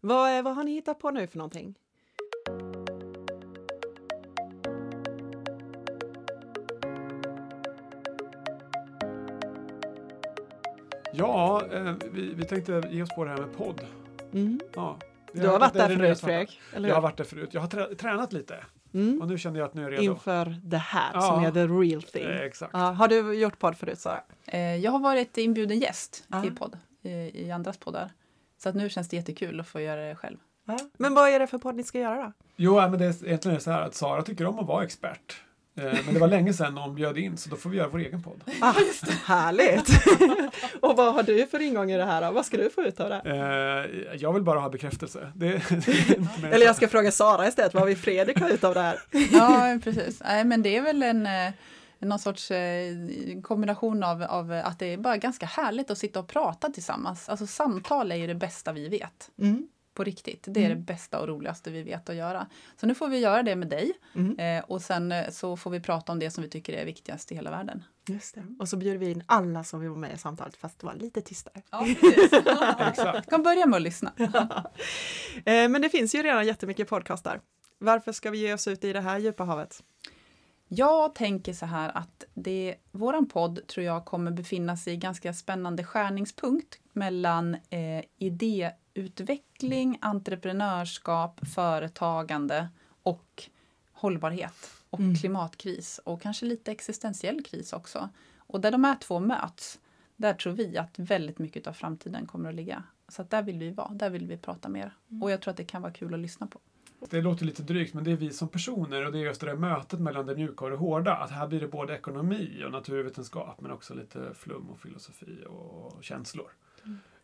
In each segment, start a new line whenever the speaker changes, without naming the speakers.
Vad, eh, vad har ni hittat på nu för någonting?
Ja, eh, vi, vi tänkte ge oss på det här med podd.
Mm.
Ja. Vi
Du har varit
det
där
är det
förut,
snart.
Fredrik. Eller
Jag har
hur?
varit där förut. Jag har trä- tränat lite och
Mm.
nu känner jag att nu är jag redo.
Inför det här som
Ja.
är the real
Eh,
thing.
Exakt.
Ja, har du gjort podd förut, Sara?
Eh, Jag har varit inbjuden gäst
Ah.
i podd, i, i andras poddar. Så att nu känns det jättekul att få göra det själv.
Men vad är det för podd ni ska göra då?
Jo, ja, men det är egentligen är det så här att Sara tycker om att vara expert. Eh, Men det var länge sedan någon bjöd in så då får vi göra vår egen podd.
Ah, härligt! och vad har du för ingång i det här då? Vad ska du få ut av det? här?
Eh, Jag vill bara ha bekräftelse. Det är inte mer än så.
Eller jag ska fråga Sara istället, vad vill Fredrik ha ut av det här?
Ja, precis. Nej, men det är väl en eh, någon sorts eh, kombination av, av att det är bara ganska härligt att sitta och prata tillsammans. Alltså samtal är ju det bästa vi vet.
Mm.
På riktigt. Det är det bästa och roligaste vi vet att göra. Så nu får vi göra det med dig
Mm.
eh, och sen eh, så får vi prata om det som vi tycker är viktigast i hela världen.
Just det. Och så bjuder vi in alla som vill vara med i samtalet, fast det var lite tystare.
Ja, precis.
Exakt.
kan börja med att lyssna.
Eh, Men det finns ju redan jättemycket podcastar. Varför ska vi ge oss ut i det här djupa havet?
Jag tänker så här att det, våran podd tror jag kommer befinna sig i ganska spännande skärningspunkt mellan eh, idéutveckling, entreprenörskap, företagande och hållbarhet och
Mm.
klimatkris och kanske lite existentiell kris också. Och där de här två möts, där tror vi att väldigt mycket av framtiden kommer att ligga. Så att där vill vi vara, där vill vi prata mer. Och jag tror att det kan vara kul att lyssna på.
Det låter lite drygt, men det är vi som personer och det är just det där mötet mellan det mjuka och det hårda. Att här blir det både ekonomi och naturvetenskap, men också lite flum och filosofi och känslor.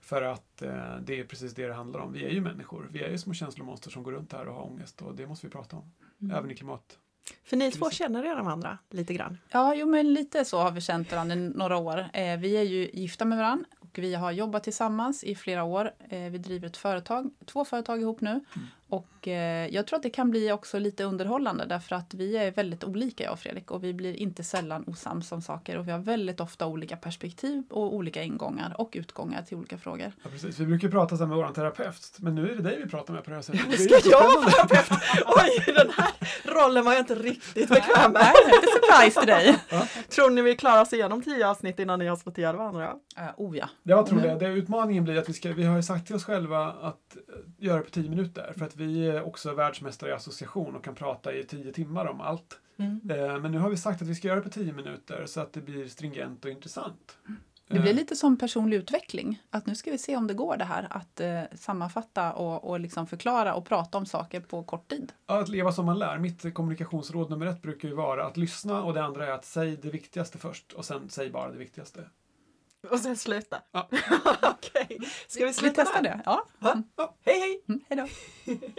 För att eh, det är precis det det handlar om. Vi är ju människor. Vi är ju små känslomonster som går runt här och har ångest och det måste vi prata om.
Mm.
Även i klimat.
För ni två känner redan varandra lite grann.
Ja, jo, men lite så har vi känt varandra i några år. Eh, vi är ju gifta med varandra och vi har jobbat tillsammans i flera år. Eh, vi driver ett företag, två företag ihop nu. Och eh, jag tror att det kan bli också lite underhållande därför att vi är väldigt olika jag och Fredrik och vi blir inte sällan osams om saker och vi har väldigt ofta olika perspektiv och olika ingångar och utgångar till olika frågor.
Ja, precis. Vi brukar prata så här med vår terapeut, men nu är det dig vi pratar med på det här sättet. Det är
Ska jag vara terapeut? Oj, den här rollen var jag inte riktigt bekväm med.
Nej, lite surprise till dig!
Tror ni vi klarar oss igenom tio avsnitt innan ni har slått ihjäl varandra?
Eh, oh ja.
Jag tror det. det. Utmaningen blir att vi, ska, vi har ju sagt till oss själva att eh, göra det på 10 minuter. För att vi är också världsmästare i association och kan prata i 10 timmar om allt.
Mm.
Eh, Men nu har vi sagt att vi ska göra det på 10 minuter så att det blir stringent och intressant.
Mm. Det blir
Eh,
lite som personlig utveckling. Att nu ska vi se om det går det här att eh, sammanfatta och, och liksom förklara och prata om saker på kort tid.
ja, Att leva som man lär. Mitt kommunikationsråd nummer ett brukar ju vara att lyssna och det andra är att säg det viktigaste först och sen säg bara det viktigaste.
Och sen sluta.
Ja.
Okej, ska vi
Vi
sluta
testar
där?
det. Ja.
Hej hej!
Mm, hej då.